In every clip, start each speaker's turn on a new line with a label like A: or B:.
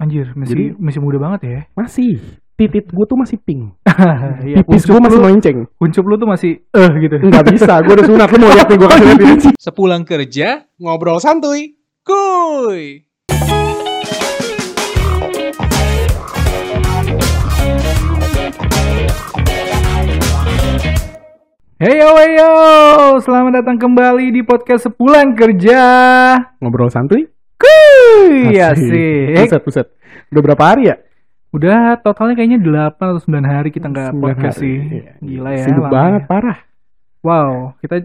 A: Anjir, masih
B: Jadi-
A: masih muda banget ya.
B: Masih. Titit gue tuh masih pink.
A: Iya,
B: Pipis gue masih melenceng.
A: kuncup lu tuh masih eh gitu.
B: Enggak bisa, gue udah sunat. Lu mau lihat nih gue kasih lihat ini.
C: Sepulang kerja, ngobrol santuy. Kuy.
A: Heyo heyo, selamat datang kembali di podcast Sepulang Kerja.
B: Ngobrol santuy.
A: Kuy,
B: Iya
A: asik.
B: Buset, buset. Udah berapa hari ya?
A: Udah totalnya kayaknya 8 atau 9 hari kita nggak
B: Sembilan
A: podcast
B: hari.
A: sih.
B: Iya.
A: Gila ya.
B: Sibuk
A: lama
B: banget,
A: ya.
B: parah.
A: Wow, kita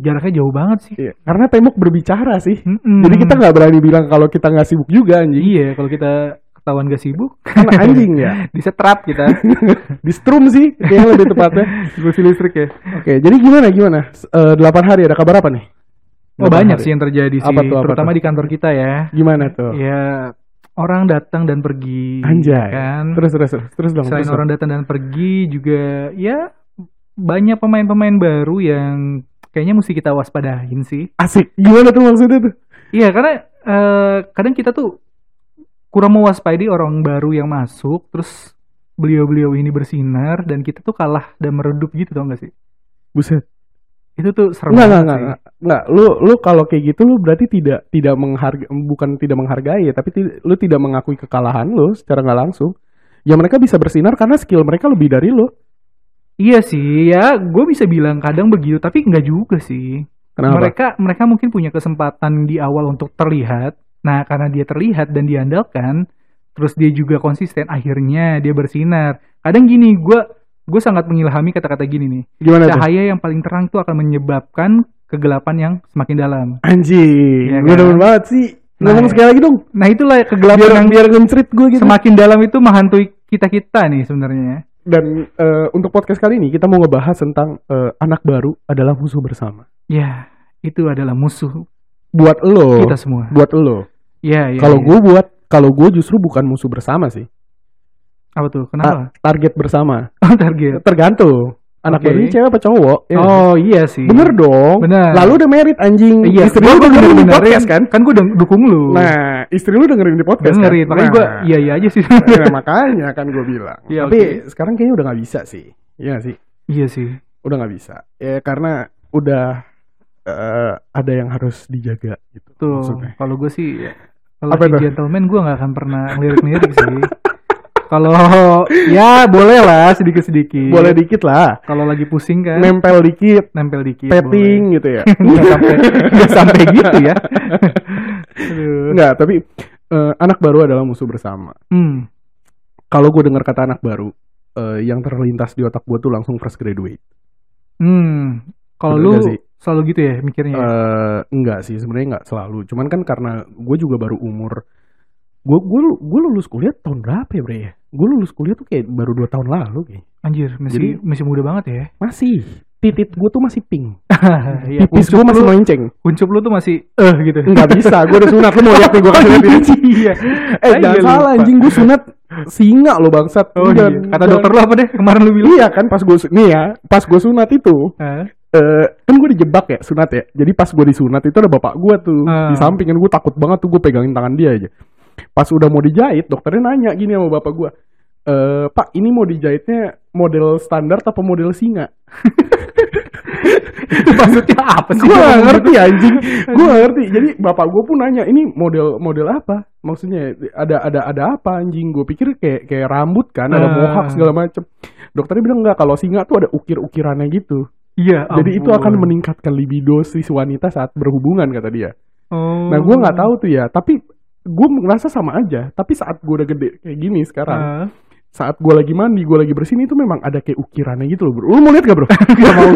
A: jaraknya jauh banget sih.
B: Iya. Karena tembok berbicara sih.
A: Mm-mm.
B: Jadi kita nggak berani bilang kalau kita nggak sibuk juga anjing.
A: Iya, kalau kita ketahuan gak sibuk,
B: Karena anjing ya.
A: disetrap kita.
B: Di strum sih, yang lebih tepatnya.
A: Kursi listrik ya.
B: Oke, jadi gimana gimana? S- eh, Delapan hari ada kabar apa nih?
A: Oh
B: Delapan
A: banyak
B: hari.
A: sih yang terjadi sih,
B: Apa tuh, apa
A: terutama
B: tuh?
A: di kantor kita ya.
B: Gimana tuh?
A: Ya orang datang dan pergi,
B: Anjay.
A: kan.
B: Terus terus terus terus dong.
A: Selain
B: terus
A: orang datang dan pergi juga, ya banyak pemain-pemain baru yang kayaknya mesti kita waspadain sih.
B: dong. asik. Gimana tuh maksudnya tuh?
A: Iya karena eh, kadang kita tuh kurang mewaspadai orang baru yang masuk, terus beliau-beliau ini bersinar dan kita tuh kalah dan meredup gitu tau gak sih?
B: Buset.
A: Itu tuh serem
B: Enggak enggak
A: banget
B: enggak.
A: sih.
B: enggak. Enggak, lu lu kalau kayak gitu lu berarti tidak tidak menghargai bukan tidak menghargai ya, tapi ti- lu tidak mengakui kekalahan lu secara nggak langsung. Ya mereka bisa bersinar karena skill mereka lebih dari lu.
A: Iya sih, ya gue bisa bilang kadang begitu, tapi nggak juga sih.
B: Kenapa?
A: Mereka mereka mungkin punya kesempatan di awal untuk terlihat. Nah, karena dia terlihat dan diandalkan, terus dia juga konsisten, akhirnya dia bersinar. Kadang gini, gue gue sangat mengilhami kata-kata gini nih.
B: Gimana tuh?
A: Cahaya yang paling terang itu akan menyebabkan kegelapan yang semakin dalam.
B: Anjing,
A: Iya
B: gue
A: kan?
B: demen banget sih.
A: Nah,
B: Ngomong
A: ya.
B: sekali lagi dong.
A: Nah, itulah
B: Biar
A: kegelapan yang
B: biar ngencrit gue gitu.
A: semakin dalam itu menghantui kita-kita nih sebenarnya.
B: Dan eh, untuk podcast kali ini kita mau ngebahas tentang eh, anak baru adalah musuh bersama.
A: Ya, itu adalah musuh
B: Buat lo,
A: kita semua.
B: buat lo.
A: Ya, ya.
B: Oh. kalau
A: ya.
B: gue buat, kalau gue justru bukan musuh bersama sih.
A: apa tuh?
B: Ta-
A: Kenapa?
B: target bersama.
A: Oh, target.
B: Tergantung. Anak
A: Oke.
B: barunya cewek apa cowok? ya.
A: Oh iya sih.
B: bener dong.
A: Bener.
B: Lalu udah merit anjing.
A: Iya,
B: Istri
A: gua-
B: lu
A: gua
B: dengerin di
A: benerin.
B: podcast kan?
A: Kan gue dukung lu.
B: Nah, istri lu dengerin di podcast
A: dengerin.
B: kan?
A: Makanya
B: Nah.
A: gue iya iya aja sih.
B: Nah, makanya kan gue bilang.
A: Iya,
B: Tapi
A: oke.
B: sekarang kayaknya udah nggak bisa sih. Iya nggak sih.
A: iya sih.
B: Udah nggak bisa. Ya karena udah eh, ada yang harus dijaga gitu.
A: Tuh.
B: maksudnya.
A: Kalau gue sih ya, kalau
B: Apa
A: lagi
B: itu?
A: gentleman gue nggak akan pernah ngelirik-ngelirik sih. Kalau ya boleh lah sedikit-sedikit.
B: Boleh dikit lah.
A: Kalau lagi pusing kan
B: Nempel dikit,
A: nempel dikit. boleh.
B: petting gitu ya.
A: Nggak sampai nggak sampai gitu ya. Aduh.
B: Enggak, tapi eh, anak baru adalah musuh bersama.
A: Hmm.
B: Kalau gue dengar kata anak baru, eh, yang terlintas di otak gue tuh langsung fresh graduate.
A: Hmm. Kalau
B: Bener
A: lu
B: nggak sih?
A: selalu gitu ya mikirnya. ya?
B: Eh, enggak sih, sebenarnya enggak selalu. Cuman kan karena gue juga baru umur gue gue gue lulus kuliah tahun berapa ya bre ya? Gue lulus kuliah tuh kayak baru dua tahun lalu kayaknya.
A: Anjir, masih masih muda banget ya.
B: Masih titit gue tuh masih pink.
A: Iya,
B: Pipis
A: kuncup
B: gue masih
A: lu-
B: melenceng.
A: kuncup lu tuh masih eh gitu.
B: Enggak bisa, gue udah sunat. Lu mau lihat nih gue kasih lihat ini.
A: iya.
B: Eh
A: Saya
B: jangan
A: juga
B: salah
A: lupa.
B: anjing gue sunat singa lo bangsat.
A: Oh,
B: Lu
A: iya.
B: jangan-
A: Kata
B: jangan-
A: dokter lu apa deh? Kemarin lu bilang.
B: Iya kan pas gue nih ya, pas gue sunat itu
A: Hah?
B: eh kan gue dijebak ya sunat ya jadi pas gue disunat itu ada bapak gue tuh
A: Ah.
B: di samping kan gue takut banget tuh gue pegangin tangan dia aja pas udah mau dijahit dokternya nanya gini sama bapak gue eh pak ini mau dijahitnya model standar apa model singa Ya,
A: Maksudnya apa sih? gitu?
B: gue gak ngerti anjing gue gak ngerti jadi bapak gue pun nanya ini model model apa maksudnya ada ada ada apa anjing gue pikir kayak kayak rambut kan ada
A: Ah.
B: mohawk segala macem dokternya bilang enggak kalau singa tuh ada ukir ukirannya gitu
A: Iya.
B: Jadi itu
A: ampun.
B: akan meningkatkan libido si wanita saat berhubungan kata dia.
A: Oh.
B: Nah, gua nggak tahu tuh ya, tapi gue ngerasa sama aja. Tapi saat gua udah gede kayak gini sekarang,
A: Ah.
B: saat gua lagi mandi, gua lagi bersin itu memang ada kayak ukirannya gitu loh, bro. Lu mau lihat gak bro? gak mau.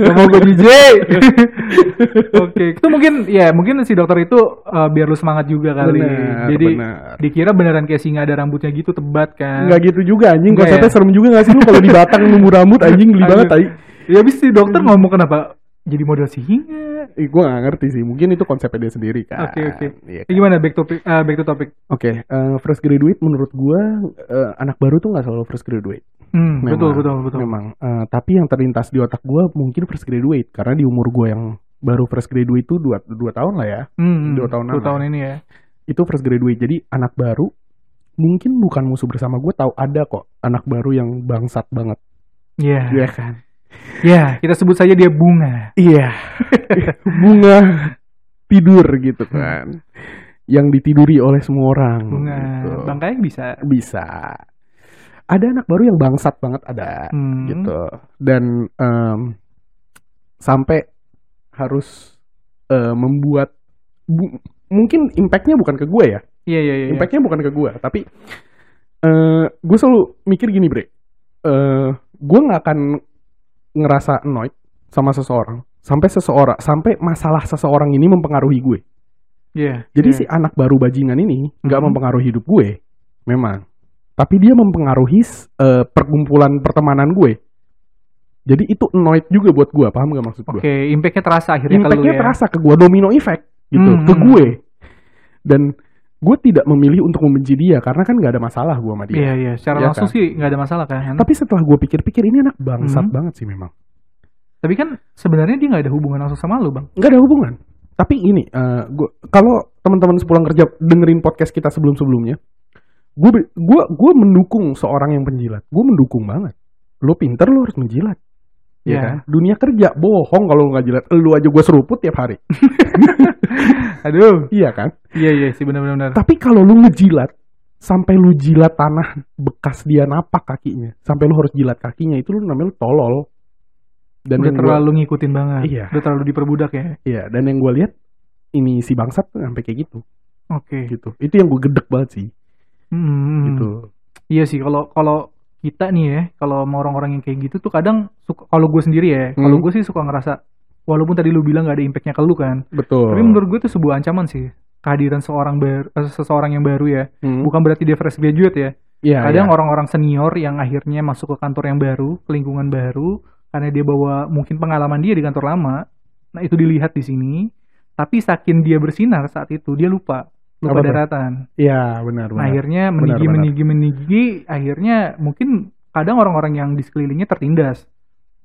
A: Gak mau gue DJ. Oke, itu mungkin ya mungkin si dokter itu eh, biar lu semangat juga kali.
B: Bener,
A: Jadi
B: bener.
A: dikira beneran kayak singa ada rambutnya gitu tebat kan.
B: Nggak gitu juga anjing,
A: Nggak
B: konsepnya
A: ya?
B: serem juga gak sih lu kalau di batang numbu rambut anjing geli banget tai.
A: Ya habis si dokter
B: Hmm.
A: ngomong kenapa jadi model singa.
B: Eh, gua gak ngerti sih, mungkin itu konsepnya dia sendiri kan.
A: Oke, oke.
B: Iya
A: Eh, Gimana back topic eh, back to topic.
B: Oke, eh, fresh graduate menurut gua eh, anak baru tuh nggak selalu fresh graduate.
A: Hmm,
B: Memang,
A: betul betul betul.
B: Memang. Eh, tapi yang terlintas di otak gue mungkin fresh graduate karena di umur gue yang baru fresh graduate itu dua dua tahun lah ya.
A: Hmm,
B: Dua tahun
A: dua
B: lama.
A: tahun ini ya.
B: Itu fresh graduate jadi anak baru mungkin bukan musuh bersama gue tahu ada kok anak baru yang bangsat banget
A: Iya.
B: Iya kan
A: Ya, kita sebut saja dia bunga.
B: iya bunga tidur gitu kan yang ditiduri oleh semua orang
A: Bunga.
B: gitu.
A: Bangkai bisa.
B: bisa ada anak baru yang bangsat banget ada
A: Hmm.
B: gitu dan em, sampai harus eh, membuat bu- mungkin impactnya bukan ke gue ya
A: Iya, iya, iya.
B: impactnya bukan ke gue tapi eh gue selalu mikir gini bre Eh gue nggak akan ngerasa annoyed sama seseorang sampai seseorang sampai masalah seseorang ini mempengaruhi gue
A: Iya.
B: jadi
A: iya.
B: si anak baru bajingan ini nggak
A: Mhm.
B: mempengaruhi hidup gue memang tapi dia mempengaruhi eh, perkumpulan pertemanan gue jadi itu annoyed juga buat gue paham gak maksud gue
A: Oke, impactnya terasa akhirnya kalau
B: impactnya
A: ya.
B: terasa ke gue domino effect gitu
A: Hmm.
B: ke gue dan gue tidak memilih untuk membenci dia karena kan nggak ada masalah gue sama dia
A: Iya, iya. Secara
B: Iya
A: langsung
B: kan?
A: sih nggak ada masalah kan. Tapi,
B: tapi setelah gue pikir-pikir ini anak bangsat
A: Hmm.
B: banget sih memang
A: kan sebenarnya dia nggak ada hubungan langsung sama lo, Bang.
B: nggak ada hubungan tapi ini eh, gua kalau teman-teman sepulang kerja dengerin podcast kita sebelum-sebelumnya gue gua gua mendukung seorang yang penjilat gue mendukung banget lo pinter lo harus menjilat
A: Iya.
B: ya kan? dunia kerja bohong kalau lo nggak jilat lu aja gue seruput tiap hari
A: Aduh.
B: iya kan
A: Iya, iya sih benar-benar.
B: Tapi kalau lu ngejilat sampai lu jilat tanah bekas dia napak kakinya, sampai lu harus jilat kakinya itu lu namanya lu tolol. Dan
A: Udah
B: yang gua-
A: terlalu ngikutin banget.
B: Iya.
A: Udah terlalu diperbudak ya.
B: iya, dan yang gue lihat ini si bangsat tuh sampai kayak gitu,
A: Oke.
B: gitu. Itu yang gue gedek banget sih,
A: Hmm.
B: gitu.
A: Iya sih, kalau kalau kita nih ya, kalau sama orang-orang yang kayak gitu tuh kadang suka kalau gue sendiri ya, kalau
B: Hmm.
A: gue sih suka ngerasa walaupun tadi lu bilang nggak ada impactnya ke lu kan,
B: Betul.
A: tapi menurut gue itu sebuah ancaman sih kehadiran seorang bar- eh, seseorang yang baru ya,
B: Hmm.
A: bukan berarti dia fresh graduate ya.
B: Iya,
A: Kadang
B: iya.
A: orang-orang senior yang akhirnya masuk ke kantor yang baru, ke lingkungan baru, karena dia bawa mungkin pengalaman dia di kantor lama. Nah itu dilihat di sini, tapi saking dia bersinar saat itu dia lupa lupa
B: Apa tuh?
A: daratan.
B: Iya, benar,
A: Nah,
B: benar.
A: akhirnya
B: Benar,
A: meninggi
B: benar.
A: meninggi meninggi akhirnya mungkin kadang orang-orang yang di sekelilingnya tertindas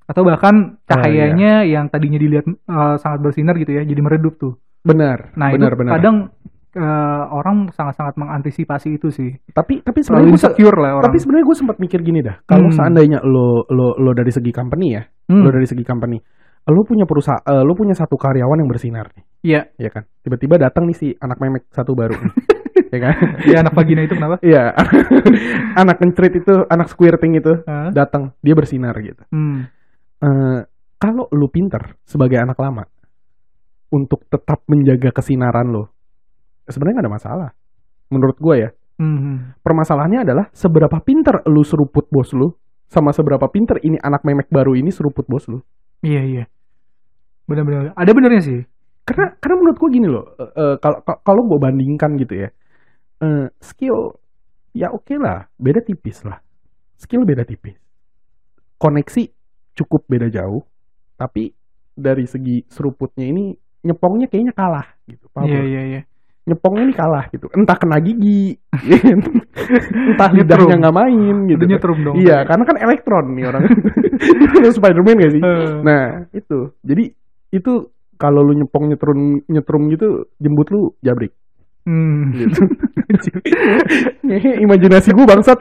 A: atau
B: Oh,
A: bahkan
B: iya.
A: cahayanya yang tadinya dilihat eh, sangat bersinar gitu ya jadi meredup tuh.
B: benar.
A: Nah
B: benar,
A: itu
B: benar.
A: kadang eh, orang sangat-sangat mengantisipasi itu sih.
B: tapi tapi sebenarnya
A: Terlalu
B: gue
A: insecure lah orang.
B: tapi sebenarnya gue sempat mikir gini dah, kalau
A: Hmm.
B: seandainya lo lo lo dari segi company ya,
A: Hmm,
B: lo dari segi company, lo punya perusahaan, lo punya satu karyawan yang bersinar nih.
A: Iya,
B: ya kan tiba-tiba datang nih si anak memek satu baru nih. ya kan
A: ya anak vagina itu kenapa?
B: iya anak kencrit itu anak squirting itu
A: Hah?
B: datang dia bersinar gitu
A: Hmm.
B: Eh, kalau lu pinter sebagai anak lama untuk tetap menjaga kesinaran lo sebenarnya nggak ada masalah menurut gue ya
A: Hmm.
B: permasalahannya adalah seberapa pinter lu seruput bos lu sama seberapa pinter ini anak memek baru ini seruput bos lu
A: Iya, iya. Benar-benar. Ada benernya sih.
B: karena karena menurut gue gini loh eh, eh, kalau kalau- kalau gue bandingkan gitu ya eh, skill ya oke lah beda tipis lah skill beda tipis koneksi cukup beda jauh tapi dari segi seruputnya ini nyepongnya kayaknya kalah gitu paham
A: Iya,
B: lo?
A: iya, iya.
B: nyepongnya ini kalah gitu entah kena gigi
A: Gitu.
B: entah lidahnya
A: Nyetrum.
B: nggak main gitu
A: Itu nyetrum dong.
B: iya karena kan elektron nih orang itu Spiderman gak sih
A: Eh.
B: Nah, itu. Jadi itu kalau lu nyepong nyetrum nyetrum gitu jembut lu jabrik
A: Hmm.
B: gitu. Ngehe, Imajinasi gue bangsat.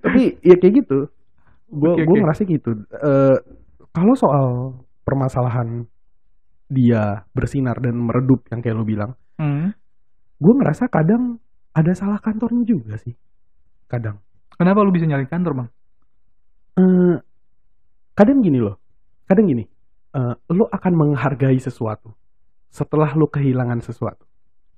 B: Tapi ya kayak gitu. Gue
A: Oke,
B: gue
A: oke.
B: ngerasa gitu. Eh, kalau soal permasalahan dia bersinar dan meredup yang kayak lu bilang,
A: Hmm.
B: gue ngerasa kadang ada salah kantornya juga sih. Kadang.
A: Kenapa lu bisa nyari kantor, Bang?
B: Eh, kadang gini loh, kadang gini, eh, lo akan menghargai sesuatu setelah lo kehilangan sesuatu,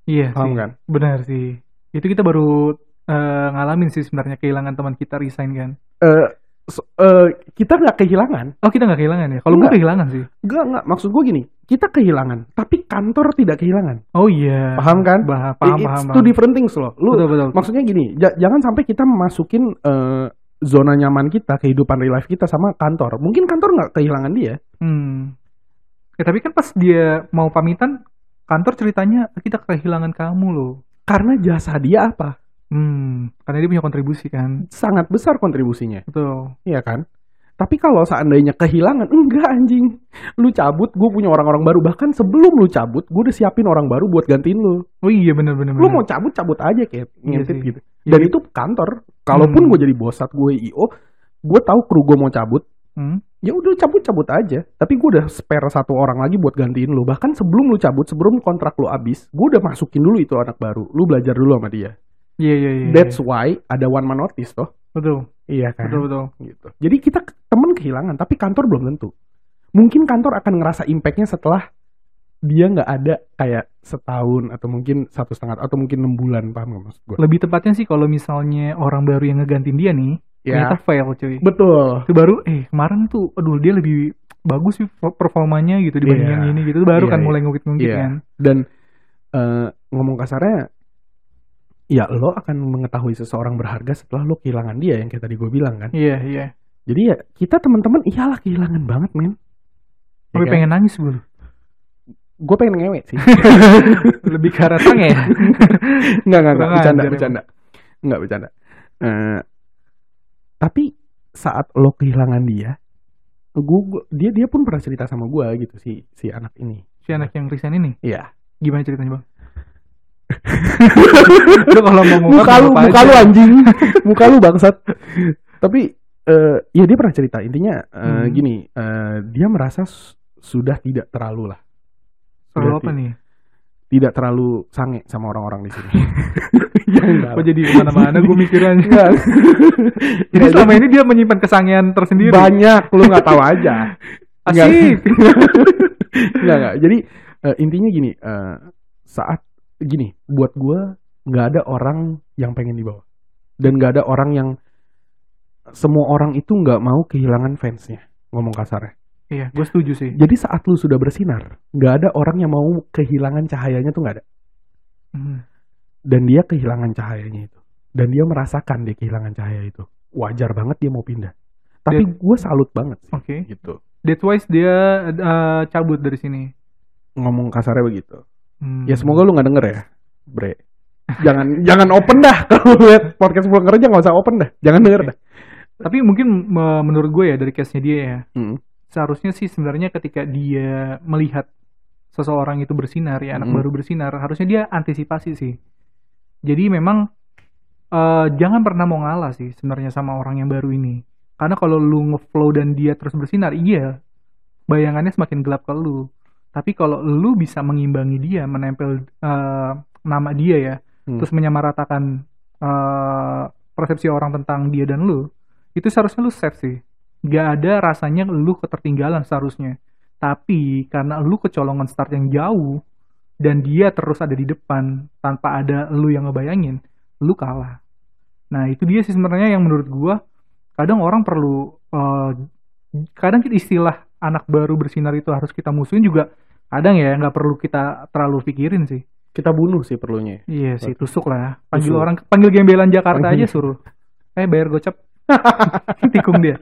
A: Iya. sih.
B: paham kan?
A: Benar sih. Itu kita baru eh, ngalamin sih sebenarnya kehilangan teman kita resign kan.
B: Eh, so- eh, kita nggak kehilangan,
A: Oh kita nggak kehilangan ya? Kalau gue
B: Nggak.
A: kehilangan sih.
B: nggak nggak, maksud gue gini, kita kehilangan, tapi kantor tidak kehilangan,
A: Oh iya.
B: paham kan?
A: Bah- paham,
B: It's
A: paham,
B: two
A: paham.
B: different things loh. Lu
A: Betul, betul.
B: maksudnya gini, ja- jangan sampai kita masukin eh, zona nyaman kita, kehidupan real life kita sama kantor. Mungkin kantor nggak kehilangan dia.
A: Hmm. Ya, tapi kan pas dia mau pamitan, kantor ceritanya kita kehilangan kamu loh.
B: Karena jasa dia apa?
A: Hmm. Karena dia punya kontribusi kan.
B: Sangat besar kontribusinya.
A: Betul.
B: Iya kan? Tapi kalau seandainya kehilangan, enggak anjing. Lu cabut, gue punya orang-orang baru. Bahkan sebelum lu cabut, gue udah siapin orang baru buat gantiin lu.
A: Oh iya benar benar.
B: Lu
A: benar.
B: mau cabut, cabut aja kayak ngintip
A: Iya sih.
B: gitu. Dan itu kantor. Kalaupun
A: Hmm.
B: gue jadi bosat, gue IO, gue tahu kru gue mau cabut.
A: Hmm.
B: Ya udah cabut-cabut aja. Tapi gue udah spare satu orang lagi buat gantiin lu. Bahkan sebelum lu cabut, sebelum kontrak lu habis, gue udah masukin dulu itu anak baru. Lu belajar dulu sama dia.
A: Iya iya iya.
B: That's why ada one man notice toh.
A: betul
B: Iya kan.
A: betul betul.
B: gitu. Jadi kita ke- temen kehilangan, tapi kantor belum tentu. Mungkin kantor akan ngerasa impactnya setelah dia nggak ada kayak setahun atau mungkin satu setengah atau mungkin enam bulan paham nggak maksud gue?
A: Lebih tepatnya sih kalau misalnya orang baru yang ngegantiin dia nih ternyata
B: Ya,
A: fail cuy.
B: betul.
A: Itu baru eh kemarin tuh aduh dia lebih bagus sih per- performanya gitu dibanding
B: Iya.
A: yang ini gitu. Itu baru
B: Iya,
A: kan
B: iya.
A: mulai ngungkit-ngungkit
B: Iya.
A: kan.
B: Dan eh, ngomong kasarnya, ya lo akan mengetahui seseorang berharga setelah lo kehilangan dia yang kayak tadi gue bilang kan.
A: Iya iya.
B: Jadi ya kita teman-teman iyalah kehilangan banget men. kan?
A: Tapi pengen nangis gue. lu.
B: Gue pengen ngewe sih.
A: Lebih ke arah tangan ya.
B: Enggak, enggak, enggak.
A: Kurang
B: Bercanda,
A: ajar emang.
B: bercanda. Enggak, bercanda. Eh, tapi saat lo kehilangan dia, gua, gua- dia dia pun pernah cerita sama gua gitu si si anak ini.
A: Si anak yang resign ini
B: Iya.
A: gimana ceritanya bang? lu kalau mau ngungkap,
B: Muka lu,
A: ngungkap
B: muka
A: aja.
B: lu anjing. muka lu bangsat. tapi eh ya dia pernah cerita intinya eh,
A: Hmm.
B: gini, eh, dia merasa su- sudah tidak terlalu lah.
A: Soal
B: Sudah
A: apa
B: ti-
A: nih?
B: Tidak terlalu sange sama orang-orang di sini. Ya,
A: Kok
B: enggak lah. Iya,
A: jadi kemana-mana gue mikirannya.
B: Enggak. Ya,
A: Jadi
B: Enggak,
A: selama ini dia menyimpan kesangian tersendiri.
B: iya. banyak lu nggak tahu aja. Enggak.
A: Asik.
B: Enggak, enggak. Jadi eh, intinya gini, eh, saat gini, buat gua nggak ada orang yang pengen dibawa dan nggak ada orang yang semua orang itu nggak mau kehilangan fansnya ngomong kasarnya.
A: Iya, gue setuju sih.
B: Jadi saat lu sudah bersinar, nggak ada orang yang mau kehilangan cahayanya tuh nggak ada.
A: Hmm.
B: Dan dia kehilangan cahayanya itu. Dan dia merasakan dia kehilangan cahaya itu. Wajar banget dia mau pindah. Tapi gue salut banget sih.
A: Oke.
B: Gitu.
A: That's why dia eh, cabut dari sini.
B: Ngomong kasarnya begitu.
A: Hmm.
B: Ya semoga lu nggak denger ya, Bre. Jangan jangan open dah kalau lu lihat podcast pulang kerja nggak usah open dah. Jangan denger dah.
A: Tapi mungkin me- menurut gue ya dari case-nya dia ya.
B: Mm.
A: Seharusnya sih sebenarnya ketika dia melihat seseorang itu bersinar ya, anak
B: Mm.
A: baru bersinar, harusnya dia antisipasi sih. Jadi memang eh, jangan pernah mau ngalah sih sebenarnya sama orang yang baru ini. Karena kalau lu ngeflow dan dia terus bersinar, iya bayangannya semakin gelap ke lu. Tapi kalau lu bisa mengimbangi dia, menempel eh, nama dia ya,
B: Hmm.
A: terus menyamaratakan eh, persepsi orang tentang dia dan lu, itu seharusnya lu safe sih. Gak ada rasanya lu ketertinggalan seharusnya. Tapi karena lu kecolongan start yang jauh dan dia terus ada di depan tanpa ada lu yang ngebayangin, lu kalah. Nah itu dia sih sebenarnya yang menurut gua kadang orang perlu eh, kadang kita istilah anak baru bersinar itu harus kita musuhin juga kadang ya nggak perlu kita terlalu pikirin sih.
B: Kita bunuh sih perlunya.
A: Iya sih tusuk lah. Panggil
B: Tusuk.
A: orang panggil gembelan Jakarta
B: Panggil.
A: aja suruh. Eh bayar gocap. Tikung dia.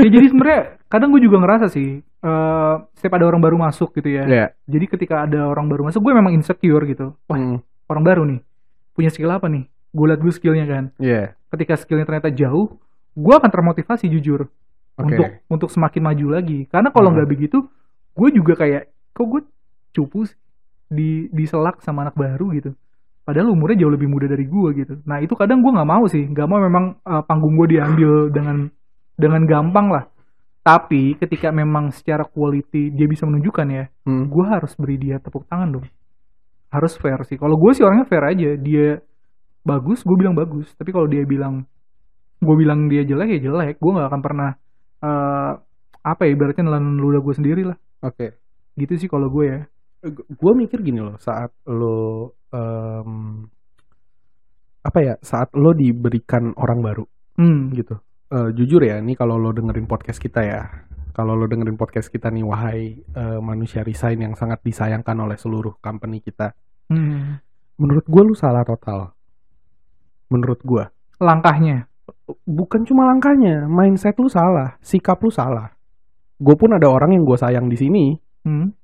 A: ya jadi sebenarnya kadang gue juga ngerasa sih eh setiap ada orang baru masuk gitu ya.
B: Iya.
A: Jadi ketika ada orang baru masuk gue memang insecure gitu. Wah
B: Mm,
A: orang baru nih punya skill apa nih? Gue liat gue skillnya kan.
B: Iya.
A: Ketika skillnya ternyata jauh, gue akan termotivasi jujur
B: Oke.
A: untuk untuk semakin maju lagi. Karena kalau
B: Hmm.
A: nggak begitu, gue juga kayak kok gue cupu sih? di diselak sama anak baru gitu. Padahal umurnya jauh lebih muda dari gue gitu. Nah itu kadang gue nggak mau sih, nggak mau memang eh, panggung gue diambil dengan dengan gampang lah. Tapi ketika memang secara quality dia bisa menunjukkan ya,
B: Mm.
A: gue harus beri dia tepuk tangan dong. Harus fair sih. Kalau gue sih orangnya fair aja. Dia bagus, gue bilang bagus. Tapi kalau dia bilang gue bilang dia jelek ya jelek. Gue nggak akan pernah eh, apa ya ibaratnya nelan ludah gue sendiri lah.
B: Oke.
A: Gitu sih kalau gue ya.
B: gue mikir gini loh saat lo em, apa ya saat lo diberikan orang baru
A: Hmm.
B: gitu Eh, jujur ya ini kalau lo dengerin podcast kita ya kalau lo dengerin podcast kita nih wahai eh, manusia resign yang sangat disayangkan oleh seluruh company kita
A: Hmm.
B: menurut gue lu salah total menurut gue
A: Langkahnya.
B: bukan cuma langkahnya mindset lu salah sikap lu salah gue pun ada orang yang gue sayang di sini
A: Hmm.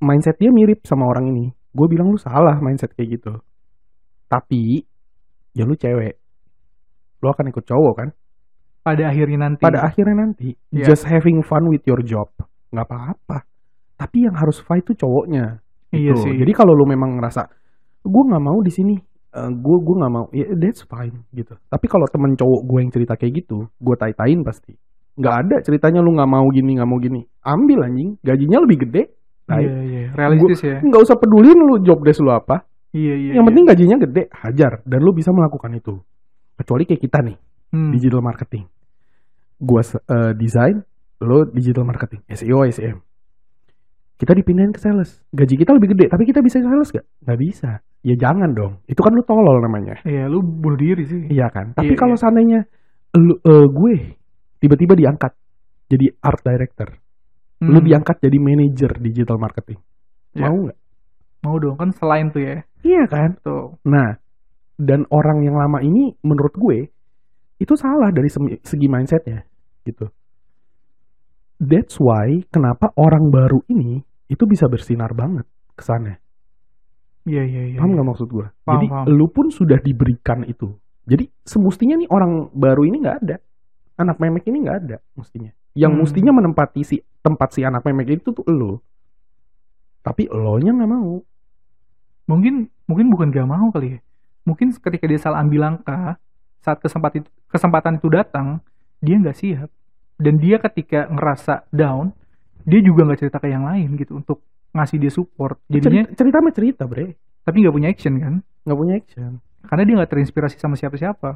B: mindset dia mirip sama orang ini. Gue bilang lu salah mindset kayak gitu. Tapi ya lu cewek, lu akan ikut cowok kan?
A: Pada akhirnya nanti.
B: Pada akhirnya nanti
A: Iya.
B: just having fun with your job, nggak apa-apa. Tapi yang harus fight tuh cowoknya.
A: Iya
B: Tuh.
A: sih.
B: Jadi kalau lu memang ngerasa gue nggak mau di sini gue gue nggak mau ya that's fine gitu tapi kalau temen cowok gue yang cerita kayak gitu gue tai-tain pasti nggak ada ceritanya lu nggak mau gini nggak mau gini ambil anjing gajinya lebih gede tai.
A: Iya, iya. Realistis ya.
B: nggak usah pedulin lu job desk lu apa
A: Iya, iya.
B: yang
A: iya.
B: penting gajinya gede hajar dan lu bisa melakukan itu kecuali kayak kita nih
A: Hmm.
B: digital marketing gua se- eh, desain lo digital marketing E SEO SEM kita dipindahin ke sales gaji kita lebih gede tapi kita bisa ke sales gak nggak bisa ya jangan dong itu kan lu tolol namanya
A: Iya, lu bunuh diri sih.
B: iya kan tapi
A: Iya,
B: kalau
A: iya.
B: seandainya lu, eh, gue tiba-tiba diangkat jadi art director lu
A: Hmm.
B: diangkat jadi manager digital marketing
A: Iya.
B: mau nggak
A: Mau dong kan selain tuh ya.
B: iya kan
A: Tuh.
B: Nah, dan orang yang lama ini menurut gue itu salah dari semi- segi mindsetnya gitu. That's why kenapa orang baru ini itu bisa bersinar banget kesannya.
A: Iya, iya, iya.
B: Paham nggak maksud gue?
A: Paham,
B: Jadi
A: paham.
B: lu pun sudah diberikan itu. Jadi semestinya nih orang baru ini nggak ada. Anak memek ini nggak ada mestinya. Yang
A: Hmm.
B: mestinya menempati si tempat si anak memek itu tuh lu. Tapi elonya nggak mau.
A: mungkin mungkin bukan gak mau kali ya mungkin ketika dia salah ambil langkah saat kesempatan itu, kesempatan itu datang dia nggak siap dan dia ketika ngerasa down dia juga nggak cerita ke yang lain gitu untuk ngasih dia support jadinya
B: Cerita, cerita mah cerita bre.
A: tapi nggak punya action kan
B: Nggak punya action.
A: karena dia nggak terinspirasi sama siapa-siapa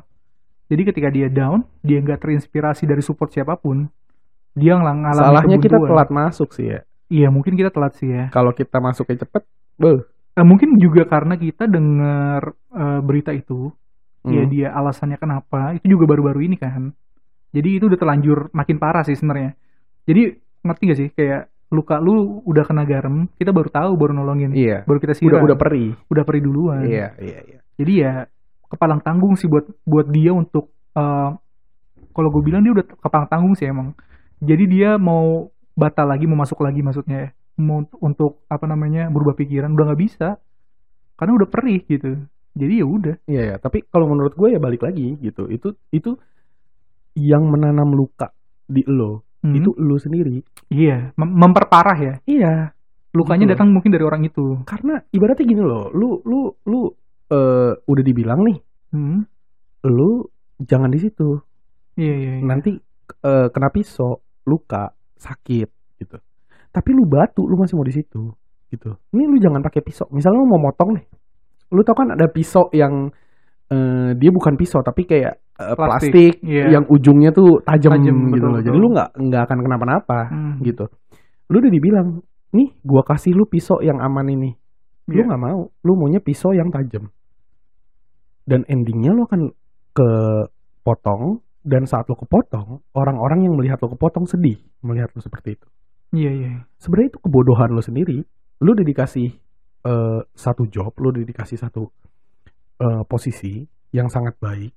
A: jadi ketika dia down dia nggak terinspirasi dari support siapapun dia ngelang ngalamin
B: Salahnya kita
A: kebuntuan.
B: telat masuk sih ya.
A: iya mungkin kita telat sih ya
B: Kalau kita masuknya cepet, beuh.
A: Eh, mungkin juga karena kita dengar eh, berita itu ya
B: Hmm.
A: dia alasannya kenapa itu juga baru-baru ini kan jadi itu udah terlanjur makin parah sih sebenarnya jadi ngerti gak sih kayak luka lu udah kena garam kita baru tahu baru nolongin
B: Iya.
A: baru kita siram
B: Udah udah perih.
A: udah perih duluan
B: Iya, iya, iya.
A: jadi ya kepalang tanggung sih buat buat dia untuk eh, kalau gue bilang dia udah kepalang tanggung sih emang jadi dia mau batal lagi mau masuk lagi maksudnya ya. mau unt- untuk apa namanya berubah pikiran udah nggak bisa karena udah perih gitu jadi ya udah
B: Iya, iya. tapi kalau menurut gue ya balik lagi gitu. Itu itu yang menanam luka di lo,
A: Hmm.
B: itu lo sendiri.
A: Iya, mem- memperparah ya.
B: Iya,
A: Lukanya
B: Gitu.
A: datang mungkin dari orang itu.
B: karena ibaratnya gini loh, lu lu lu eh, udah dibilang nih,
A: Hmm.
B: lu jangan di situ.
A: Iya, iya, iya.
B: Nanti eh, kena pisau, luka, sakit gitu. Tapi lu batu, lu masih mau di situ gitu. Ini lu jangan pakai pisau. Misalnya lu mau motong nih. Lu tau kan ada pisau yang eh, dia bukan pisau tapi kayak eh,
A: Plastik,
B: plastik,
A: iya.
B: yang ujungnya tuh tajam
A: Tajam,
B: gitu
A: betul,
B: loh. Jadi
A: betul.
B: lu nggak nggak akan kenapa-napa
A: Hmm.
B: gitu. Lu udah dibilang, "Nih, gua kasih lu pisau yang aman ini." Lu
A: Iya.
B: nggak mau. Lu maunya pisau yang tajam. Dan endingnya lu akan kepotong dan saat lu kepotong, orang-orang yang melihat lu kepotong sedih melihat lu seperti itu.
A: Iya, iya.
B: Sebenarnya itu kebodohan lu sendiri. Lu udah dikasih eh, satu job, lu udah dikasih satu eh, posisi yang sangat baik,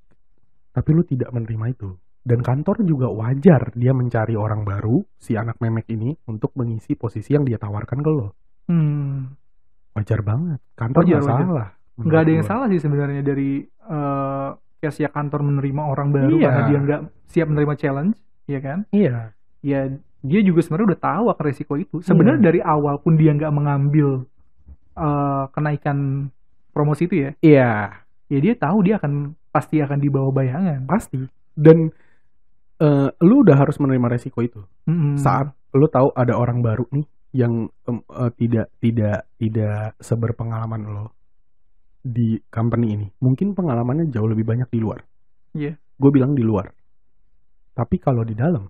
B: tapi lu tidak menerima itu. Dan kantor juga wajar dia mencari orang baru, si anak memek ini, untuk mengisi posisi yang dia tawarkan ke lo.
A: Hmm.
B: Wajar banget. Kantor
A: Wajar,
B: nggak
A: wajar.
B: salah.
A: Nggak ada yang
B: menurut gua.
A: salah sih sebenarnya dari eh ya kantor menerima orang baru
B: Iya.
A: karena dia nggak siap menerima challenge, ya kan?
B: Iya.
A: Ya dia juga sebenarnya udah tahu akan resiko itu. Sebenarnya dari awal pun dia nggak mengambil eh kenaikan promosi itu ya.
B: Iya.
A: Ya dia tahu dia akan pasti akan di bawah bayangan.
B: Pasti. Dan eh, lu udah harus menerima resiko itu.
A: Mm-mm.
B: saat lu tahu ada orang baru nih yang em, eh, tidak tidak tidak seberpengalaman lo di company ini mungkin pengalamannya jauh lebih banyak di luar
A: Iya.
B: gue bilang di luar tapi kalau di dalam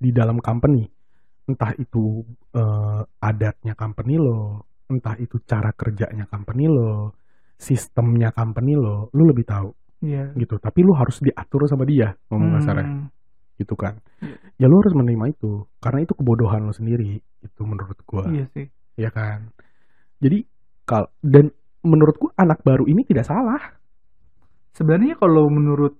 B: di dalam company entah itu eh, adatnya company lo entah itu cara kerjanya company lo sistemnya company lo lu lebih tahu
A: Iya.
B: gitu tapi lu harus diatur sama dia ngomong kasarnya
A: Hmm.
B: gitu kan. Ya lu harus menerima itu karena itu kebodohan lu sendiri itu menurut gua,
A: Iya sih.
B: ya kan. Jadi kal dan menurut gua anak baru ini tidak salah.
A: sebenarnya kalau menurut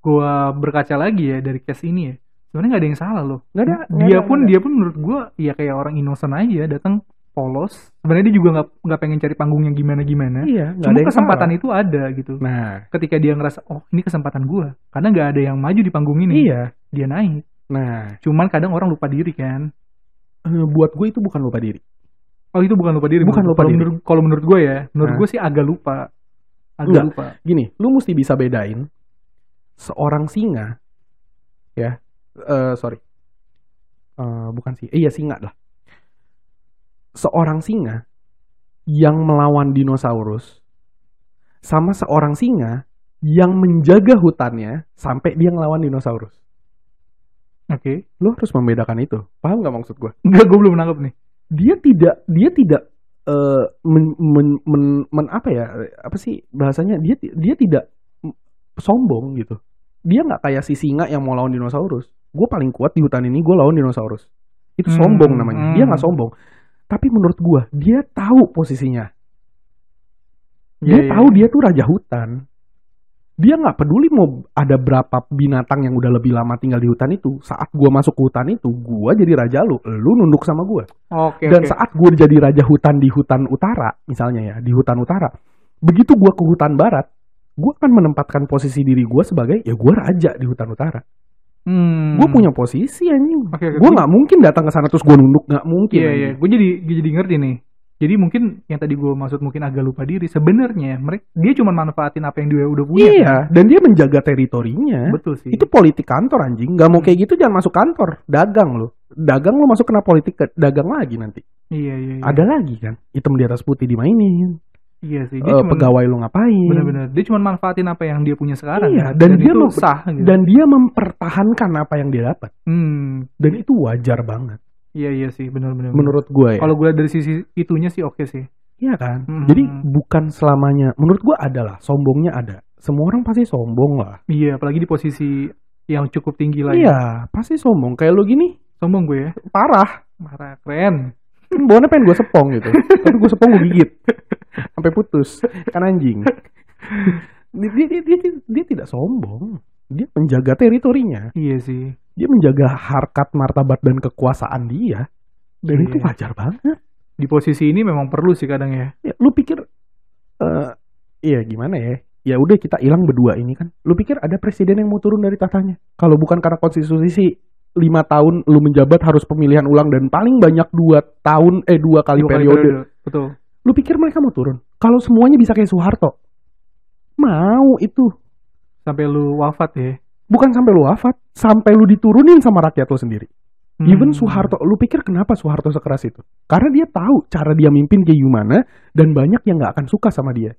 A: gua berkaca lagi ya dari case ini ya sebenarnya nggak ada yang salah loh
B: Nggak ada. nggak
A: dia
B: ada,
A: pun
B: nggak
A: dia pun menurut gua ya kayak orang innocent aja datang polos sebenarnya dia juga nggak nggak pengen cari panggung yang gimana gimana
B: ada. iya, nggak ada
A: cuma
B: yang
A: kesempatan
B: salah.
A: itu ada gitu
B: Nah,
A: ketika dia ngerasa oh ini kesempatan gua karena nggak ada yang maju di panggung ini
B: iya.
A: dia naik
B: Nah,
A: cuman kadang orang lupa diri kan
B: eh, buat gue itu bukan lupa diri.
A: oh itu bukan lupa diri
B: Bukan
A: menurut-
B: lupa
A: kalau
B: diri.
A: menurut kalau menurut gua ya menurut
B: Hah?
A: gua sih agak lupa Agak
B: Enggak.
A: lupa.
B: gini, lu mesti bisa bedain seorang singa, ya, eh sorry, Eh, bukan sih, iya singa lah, seorang singa yang melawan dinosaurus sama seorang singa yang menjaga hutannya sampai dia ngelawan dinosaurus.
A: Oke.
B: Lu harus membedakan itu, paham nggak maksud gue?
A: Enggak, gue belum nangkep nih.
B: Dia tidak, dia tidak eh, men, men- men- men- apa ya, apa sih bahasanya? Dia ti- dia tidak mm, sombong gitu. Dia nggak kayak si singa yang mau lawan dinosaurus. Gue paling kuat di hutan ini, gue lawan dinosaurus. Itu
A: Hmm,
B: sombong namanya.
A: hmm.
B: Dia nggak sombong. Tapi menurut gue, dia tahu posisinya.
A: Iya,
B: Dia tahu
A: iya.
B: dia tuh raja hutan. Dia nggak peduli mau ada berapa binatang yang udah lebih lama tinggal di hutan itu. Saat gue masuk ke hutan itu, gue jadi raja lu. Lu nunduk sama gue.
A: Oke,
B: Dan
A: oke.
B: saat gue jadi raja hutan di hutan utara, misalnya ya, di hutan utara, begitu gue ke hutan barat, gue akan menempatkan posisi diri gue sebagai ya gue raja di hutan utara.
A: Hmm.
B: Gue punya posisi anjing.
A: Oke, oke.
B: Gue nggak mungkin datang ke sana terus gue nunduk, nggak mungkin.
A: Iya, iya.
B: anjing.
A: Gue jadi gua jadi ngerti nih. Jadi mungkin yang tadi gue maksud mungkin agak lupa diri. Sebenarnya mereka dia cuma manfaatin apa yang dia udah punya. kan?
B: Iya, dan dia menjaga teritorinya.
A: Betul sih.
B: Itu politik kantor anjing. Gak mau
A: Hmm.
B: kayak gitu jangan masuk kantor. Dagang lo. Dagang lo masuk kena politik ke- dagang lagi nanti.
A: Iya, iya. iya.
B: Ada lagi kan. Hitam di atas putih dimainin.
A: Iya sih.
B: Eh,
A: cuman-
B: pegawai lo ngapain.
A: Benar-benar. Dia cuma manfaatin apa yang dia punya sekarang.
B: Iya,
A: kan?
B: dan dia
A: itu
B: mem-
A: sah gitu.
B: Dan dia mempertahankan apa yang dia dapat.
A: hmm,
B: Dan itu wajar banget.
A: iya iya sih, benar-benar.
B: Menurut gue ya.
A: Kalau gue dari sisi itunya sih oke sih.
B: Iya kan?
A: Mm.
B: Jadi bukan selamanya. Menurut gue adalah. Sombongnya ada. Semua orang pasti sombong lah.
A: Iya, apalagi di posisi yang cukup tinggi lah. ya.
B: Iya, pasti sombong. Kayak lo gini,
A: Sombong gue ya.
B: parah. Kan
A: Marah keren.
B: Bawahnya pengen gue sepong gitu. Tapi gue sepong gue gigit. Sampai putus. Kan anjing. Dia, dia, dia, dia- dia tidak sombong. Dia menjaga teritorinya.
A: Iya sih.
B: Dia menjaga harkat, martabat, dan kekuasaan dia. Dan
A: Iya.
B: itu wajar banget.
A: Di posisi ini memang perlu sih kadang ya.
B: Ya, lu pikir... eh iya gimana ya. Ya udah kita hilang berdua ini kan. Lu pikir ada presiden yang mau turun dari tahtanya. Kalau bukan karena konstitusi sih lima tahun lu menjabat harus pemilihan ulang dan paling banyak dua tahun eh dua kali
A: Dua kali
B: periode
A: Betul.
B: Lu pikir mereka mau turun? Kalau semuanya bisa kayak Soeharto. Mau itu.
A: Sampai lu wafat ya.
B: Bukan sampai lu wafat. Sampai lu diturunin sama rakyat lu sendiri.
A: Hmm.
B: Even Soeharto. Lu pikir kenapa Soeharto sekeras itu? Karena dia tahu cara dia mimpin kayak gimana. Dan banyak yang gak akan suka sama dia.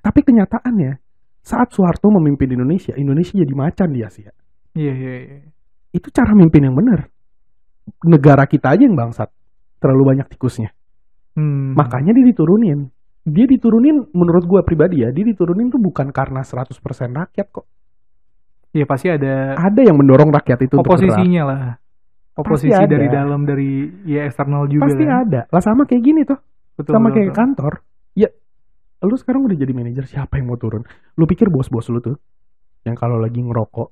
B: Tapi kenyataannya. Saat Soeharto memimpin Indonesia. Indonesia jadi macan di Asia.
A: Iya, iya, iya.
B: Itu cara mimpin yang benar. Negara kita aja yang bangsat. Terlalu banyak tikusnya.
A: Hmm.
B: Makanya dia diturunin. Dia diturunin menurut gue pribadi ya, dia diturunin tuh bukan karena 100% rakyat kok.
A: Iya, pasti ada
B: Ada yang mendorong rakyat itu untuk gerak.
A: oposisinya lah. Oposisi
B: ada.
A: dari dalam dari ya eksternal juga
B: Pasti
A: kan.
B: ada. Lah sama kayak gini tuh,
A: Betul,
B: sama
A: betul,
B: kayak
A: betul.
B: kantor. Ya, lu sekarang udah jadi manajer, siapa yang mau turun? Lu pikir bos-bos lu tuh yang kalau lagi ngerokok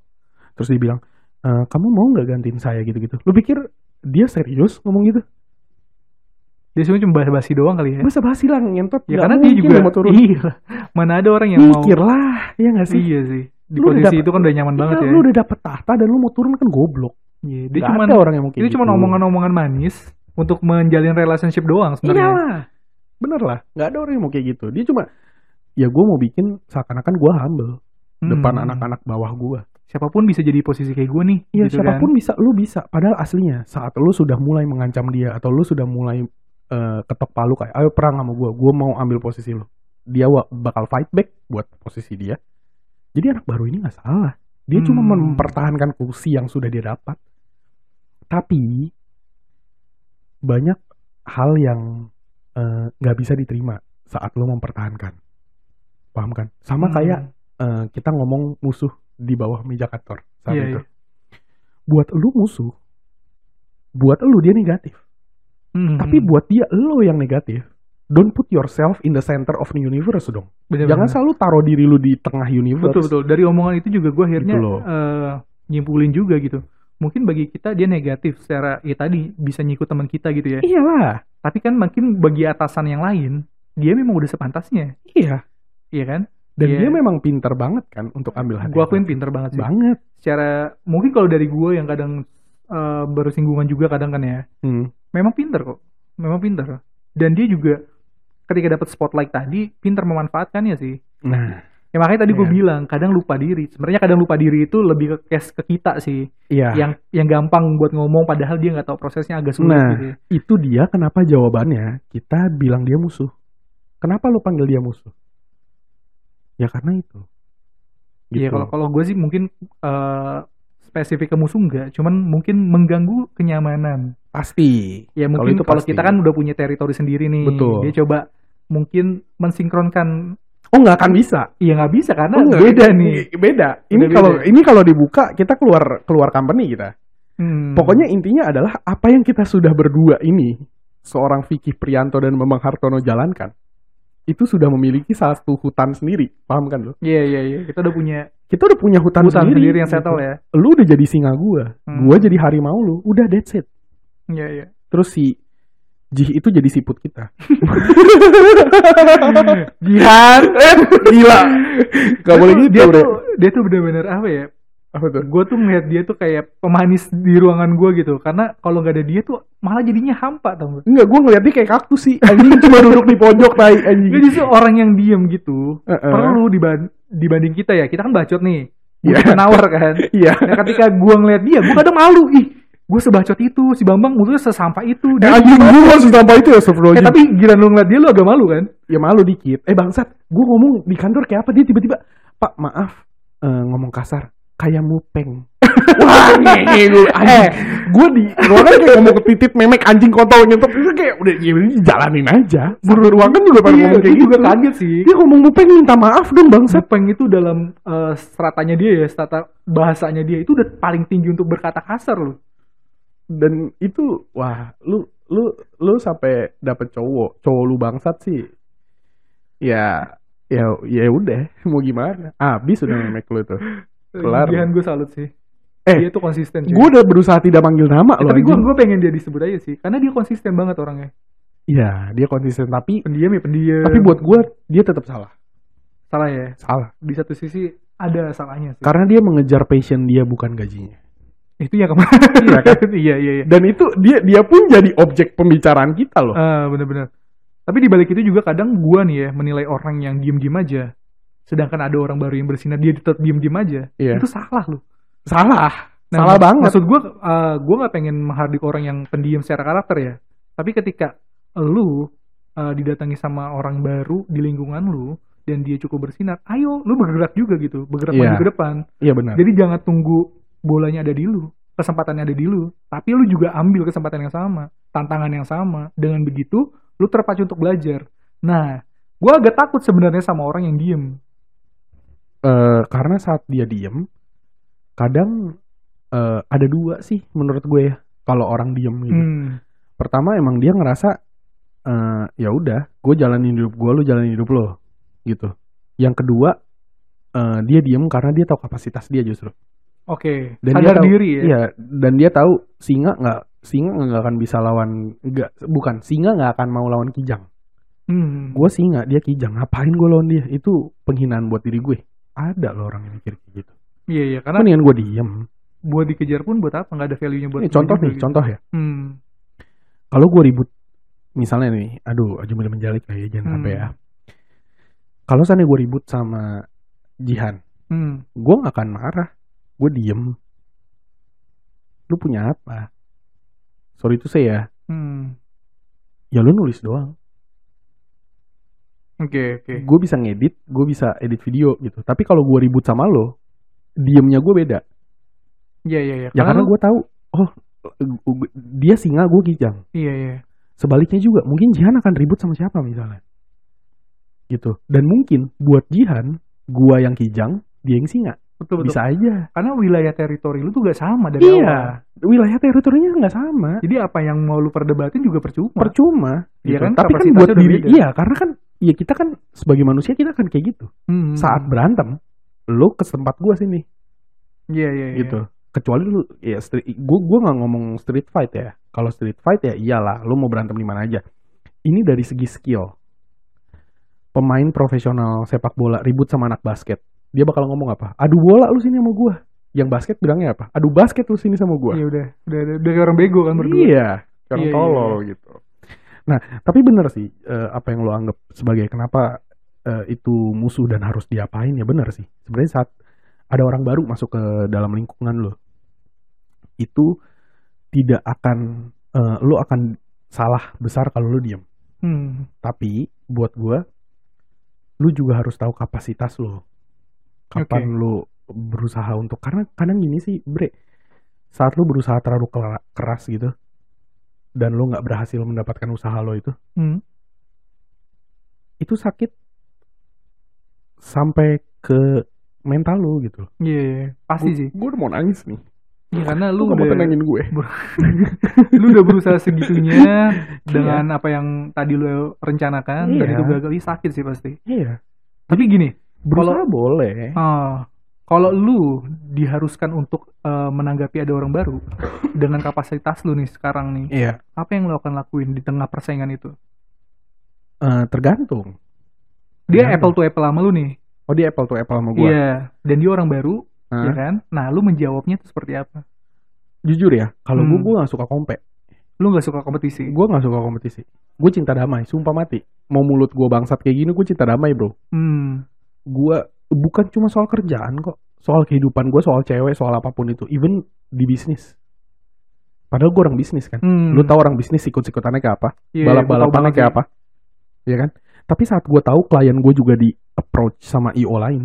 B: terus dibilang, "Eh, "Kamu mau nggak gantiin saya gitu-gitu?" Lu pikir dia serius ngomong gitu?
A: Dia cuma cuma basa-basi doang kali ya.
B: Masa basi lah ngentot.
A: Ya
B: Nggak
A: karena dia
B: mungkin
A: juga
B: dia mau turun.
A: Iya. Mana ada orang yang mau
B: Mikirlah, ya nggak sih?
A: Iya sih. Di
B: Lu udah
A: posisi
B: dapet-
A: itu kan udah nyaman banget
B: Iya,
A: ya.
B: Lu udah dapet tahta dan lu mau turun kan goblok.
A: Iya, dia
B: Nggak
A: cuman
B: ada Gitu. orang yang mungkin.
A: itu cuman omongan-omongan manis untuk menjalin relationship doang
B: Iya
A: sebenarnya.
B: lah. Bener lah. Nggak ada orang yang mau kayak gitu. Dia cuma ya gue mau bikin seakan-akan gue humble
A: Hmm.
B: depan anak-anak bawah gue.
A: Siapapun bisa jadi posisi kayak gue nih.
B: Iya
A: gitu
B: siapapun bisa, lu bisa. Padahal aslinya saat lu sudah mulai mengancam dia atau lu sudah mulai eh, ketok palu kayak ayo perang sama gue, gue mau ambil posisi lu. Dia wa- bakal fight back buat posisi dia. Jadi anak baru ini nggak salah. Dia cuma
A: Hmm.
B: mempertahankan kursi yang sudah dia dapat. Tapi banyak hal yang eh, nggak bisa diterima saat lu mempertahankan. Paham kan?
A: kan.
B: Sama
A: Hmm.
B: kayak eh, kita ngomong musuh di bawah meja kantor saat
A: Iya,
B: itu.
A: iya.
B: Buat lu musuh, buat lu dia negatif.
A: Hmm.
B: Tapi buat dia lo yang negatif. Don't put yourself in the center of the universe dong.
A: Bener-bener.
B: Jangan selalu taruh diri lu di tengah
A: Iya,
B: universe.
A: betul betul. Dari omongan itu juga gue akhirnya
B: Gitu loh.
A: eh, nyimpulin juga gitu. Mungkin bagi kita dia negatif secara ya tadi bisa nyikut teman kita gitu ya.
B: Iyalah,
A: Tapi kan makin bagi atasan yang lain dia memang udah sepantasnya,
B: iya.
A: iya kan?
B: Dan
A: Iya.
B: dia memang pintar banget kan untuk ambil hati.
A: Gue akuin pinter banget sih.
B: banget.
A: secara mungkin kalau dari gue yang kadang eh, bersinggungan juga kadang kan ya
B: Hmm.
A: memang pinter kok memang pinter dan dia juga ketika dapat spotlight tadi pinter memanfaatkannya sih
B: Nah,
A: Ya makanya tadi gue
B: Iya.
A: bilang kadang lupa diri. Sebenarnya kadang lupa diri itu lebih ke case ke kita sih,
B: iya.
A: yang yang gampang buat ngomong padahal dia nggak tahu prosesnya agak sulit
B: Nah.
A: gitu.
B: itu dia kenapa jawabannya kita bilang dia musuh. Kenapa lo panggil dia musuh? Ya karena itu.
A: Iya
B: gitu.
A: kalau kalau gue sih mungkin eh, spesifik ke musuh nggak, cuman mungkin mengganggu kenyamanan.
B: pasti.
A: Ya
B: Kalau
A: mungkin
B: itu
A: kalau
B: pasti.
A: kita kan udah punya teritori sendiri nih,
B: Betul.
A: dia coba mungkin mensinkronkan,
B: Oh nggak akan bisa.
A: iya nggak bisa karena
B: Oh, nggak.
A: beda nih.
B: I- Beda. Ini
A: Udah
B: kalau
A: beda.
B: ini kalau dibuka kita keluar keluar company kita.
A: Hmm.
B: Pokoknya intinya adalah apa yang kita sudah berdua ini seorang Vicky Prianto dan Memang Hartono jalankan itu sudah memiliki satu hutan sendiri. Paham kan lo?
A: Iya iya iya, kita udah punya
B: Kita udah punya hutan,
A: hutan
B: sendiri,
A: sendiri yang settle
B: gitu.
A: ya.
B: Lu udah jadi singa gua,
A: Hmm.
B: gua jadi harimau lu. Udah that's it.
A: Iya iya.
B: Terus si Jih itu jadi siput kita.
A: Jihan,
B: Gila. Gak boleh gitu,
A: dia
B: Bro.
A: tuh, dia tuh bener-bener apa ya?
B: Apa tuh?
A: Gue tuh melihat dia tuh kayak pemanis di ruangan gue gitu. Karena kalau nggak ada dia tuh malah jadinya hampa tau gak?
B: Enggak, gue ngeliat dia kayak kaktus sih. Anjing cuma duduk di pojok, tai.
A: Dia
B: Anjing.
A: justru orang yang diem gitu.
B: Iya. Heeh.
A: Perlu diban- dibanding kita ya. Kita kan bacot nih.
B: Iya.
A: Bukan penawar kan.
B: Iya.
A: Nah ketika gue ngeliat dia, gue kadang malu. Ih, gue sebacot itu. Si Bambang mulutnya sesampah itu.
B: Eh,
A: Dia
B: anjing gue masih tanpa itu
A: Eh,
B: ya, Astagfirullahaladzim.
A: tapi gila lu ngeliat dia lu agak malu kan?
B: ya malu dikit. Eh bangsat, gue ngomong di kantor kayak apa dia tiba-tiba, Pak maaf eh, ngomong kasar, kayak mupeng. Wah, ngehe gue anjing. gue di ruangan kayak ngomong ke titit memek anjing kontol nyentuh itu kayak udah ya, udah, jalanin aja. Buru ruangan juga pada
A: Iya,
B: ngomong
A: gue
B: kayak gitu.
A: juga kaget sih.
B: Dia ngomong mupeng minta maaf dong bangsat.
A: Sepeng itu dalam eh, stratanya dia ya, strata bahasanya dia itu udah paling tinggi untuk berkata kasar loh.
B: Dan itu wah, lu lu lu sampai dapet cowok, cowok lu bangsat sih. Ya ya ya udah mau gimana abis udah memek lu tuh Kelar.
A: Jihan gue salut sih.
B: Eh,
A: dia tuh konsisten. cuy.
B: Gue udah berusaha tidak manggil nama loh.
A: tapi gue
B: anjing.
A: gue pengen dia disebut aja sih, karena dia konsisten banget orangnya.
B: Iya, dia konsisten tapi
A: Pendiam ya pendiam.
B: tapi buat gue dia tetap salah.
A: salah ya.
B: Salah.
A: Di satu sisi ada salahnya sih.
B: Karena dia mengejar passion dia bukan gajinya.
A: itu yang kemarin.
B: Iya kan?
A: iya iya. iya.
B: Dan itu dia dia pun jadi objek pembicaraan kita loh.
A: Ah, bener-bener. Tapi di balik itu juga kadang gue nih ya menilai orang yang diem-diem aja, sedangkan ada orang baru yang bersinar dia tetap diem-diem aja.
B: Iya.
A: Itu salah loh.
B: Salah.
A: Nah,
B: salah
A: mak-
B: banget.
A: Maksud gue, gue nggak pengen menghardik orang yang pendiam secara karakter ya. Tapi ketika lu eh, didatangi sama orang baru di lingkungan lu dan dia cukup bersinar, ayo lu bergerak juga gitu, bergerak
B: Iya.
A: maju ke depan.
B: Iya benar.
A: Jadi jangan tunggu bolanya ada di lu, kesempatannya ada di lu, tapi lu juga ambil kesempatan yang sama, tantangan yang sama. Dengan begitu, lu terpacu untuk belajar. Nah, gue agak takut sebenarnya sama orang yang diem.
B: Eh, karena saat dia diem, kadang eh, ada dua sih menurut gue ya. Kalau orang diem gitu.
A: Hmm.
B: Pertama emang dia ngerasa eh ya udah, gue jalanin hidup gue, lu jalanin hidup lo, gitu. Yang kedua eh, dia diem karena dia tahu kapasitas dia justru.
A: Oke,
B: Dan dia
A: sadar
B: tahu-
A: diri ya.
B: Iya, dan dia tahu singa nggak singa nggak akan bisa lawan nggak bukan singa nggak akan mau lawan kijang.
A: Hmm.
B: Gue singa, dia kijang. Ngapain gue lawan dia? Itu penghinaan buat diri gue. Ada loh orang yang mikir kayak gitu.
A: Iya, iya, karena
B: Mendingan gue diem.
A: buat dikejar pun buat apa nggak ada value-nya buat
B: Ini
A: gua
B: contoh
A: juga
B: nih,
A: gitu.
B: contoh ya.
A: hmm.
B: Kalau gue ribut, misalnya nih, aduh, aja milih menjalik lah ya, jangan
A: Hmm.
B: sampai ya. Kalau seandainya gue ribut sama Jihan,
A: Hmm.
B: gue gak akan marah gue diem lu punya apa sorry itu saya ya
A: Hmm.
B: ya lu nulis doang
A: oke oke
B: gue bisa ngedit gue bisa edit video gitu tapi kalau gue ribut sama lo diemnya gue beda
A: iya iya iya
B: ya karena
A: lu-
B: gue tahu oh gu- gu- dia singa gue kijang
A: iya iya
B: sebaliknya juga mungkin Jihan akan ribut sama siapa misalnya gitu dan mungkin buat Jihan gue yang kijang dia yang singa
A: betul betul
B: bisa aja
A: karena wilayah teritori lu tuh gak sama dari
B: Iya.
A: awal
B: wilayah teritorinya nggak sama
A: jadi apa yang mau lu perdebatin juga percuma
B: percuma
A: Iya
B: gitu.
A: kan,
B: tapi kan
A: kapasitasnya
B: buat
A: udah
B: diri
A: beda.
B: iya karena kan ya kita kan sebagai manusia kita kan kayak gitu
A: Hmm.
B: saat berantem lo ke tempat gua sini
A: iya iya iya.
B: gitu kecuali lu ya street gua gua nggak ngomong street fight ya kalau street fight ya iyalah lo mau berantem di mana aja ini dari segi skill pemain profesional sepak bola ribut sama anak basket dia bakal ngomong apa adu bola lu sini sama gua yang basket bilangnya apa adu basket lu sini sama gua
A: iya udah udah udah udah kayak orang bego kan berdua
B: Iya, orang
A: Iya, iya,
B: tolol gitu. Nah, tapi bener sih eh, apa yang lo anggap sebagai kenapa eh, itu musuh dan harus diapain ya benar sih. Sebenarnya saat ada orang baru masuk ke dalam lingkungan lo, itu tidak akan eh, lo akan salah besar kalau lo diem.
A: Hmm.
B: Tapi buat gua lu juga harus tahu kapasitas lo. Kapan lu berusaha untuk karena kadang gini sih, Bre. Saat lu berusaha terlalu kela- keras gitu dan lu nggak berhasil mendapatkan usaha lo itu,
A: Hmm.
B: itu sakit sampai ke mental lo gitu.
A: Iya, iya, iya. pasti sih.
B: Gue udah mau nangis nih.
A: Ya, karena lu
B: Lu nggak mau
A: udah
B: tenangin gue.
A: lu udah berusaha segitunya dengan apa yang tadi lu rencanakan dan
B: Iya.
A: itu gagal, ih, sakit sih pasti.
B: Iya.
A: Tapi gini,
B: Berusaha boleh.
A: ah, kalau lu diharuskan untuk eh, menanggapi ada orang baru dengan kapasitas lu nih sekarang nih,
B: Iya.
A: apa yang lu akan lakuin di tengah persaingan itu?
B: Eh, tergantung.
A: Dia
B: Iya.
A: apple to apple sama lu nih.
B: Oh dia apple to apple sama gue.
A: Iya, dan dia orang baru, ya kan? Nah, lu menjawabnya tuh seperti apa?
B: Jujur ya, kalau gue
A: Hmm.
B: gue gak suka kompe.
A: Lu nggak suka kompetisi?
B: gue nggak suka kompetisi gue cinta damai sumpah mati mau mulut gue bangsat kayak gini gue cinta damai bro
A: Hmm.
B: gue bukan cuma soal kerjaan kok soal kehidupan gue soal cewek soal apapun itu even di bisnis padahal gue orang bisnis kan
A: Hmm.
B: lu tahu orang bisnis ikut-ikutannya kayak apa
A: Iya,
B: balap
A: gua tahu
B: balapannya
A: banget
B: kayak
A: sih.
B: apa ya kan tapi saat gue tahu klien gue juga di approach sama io lain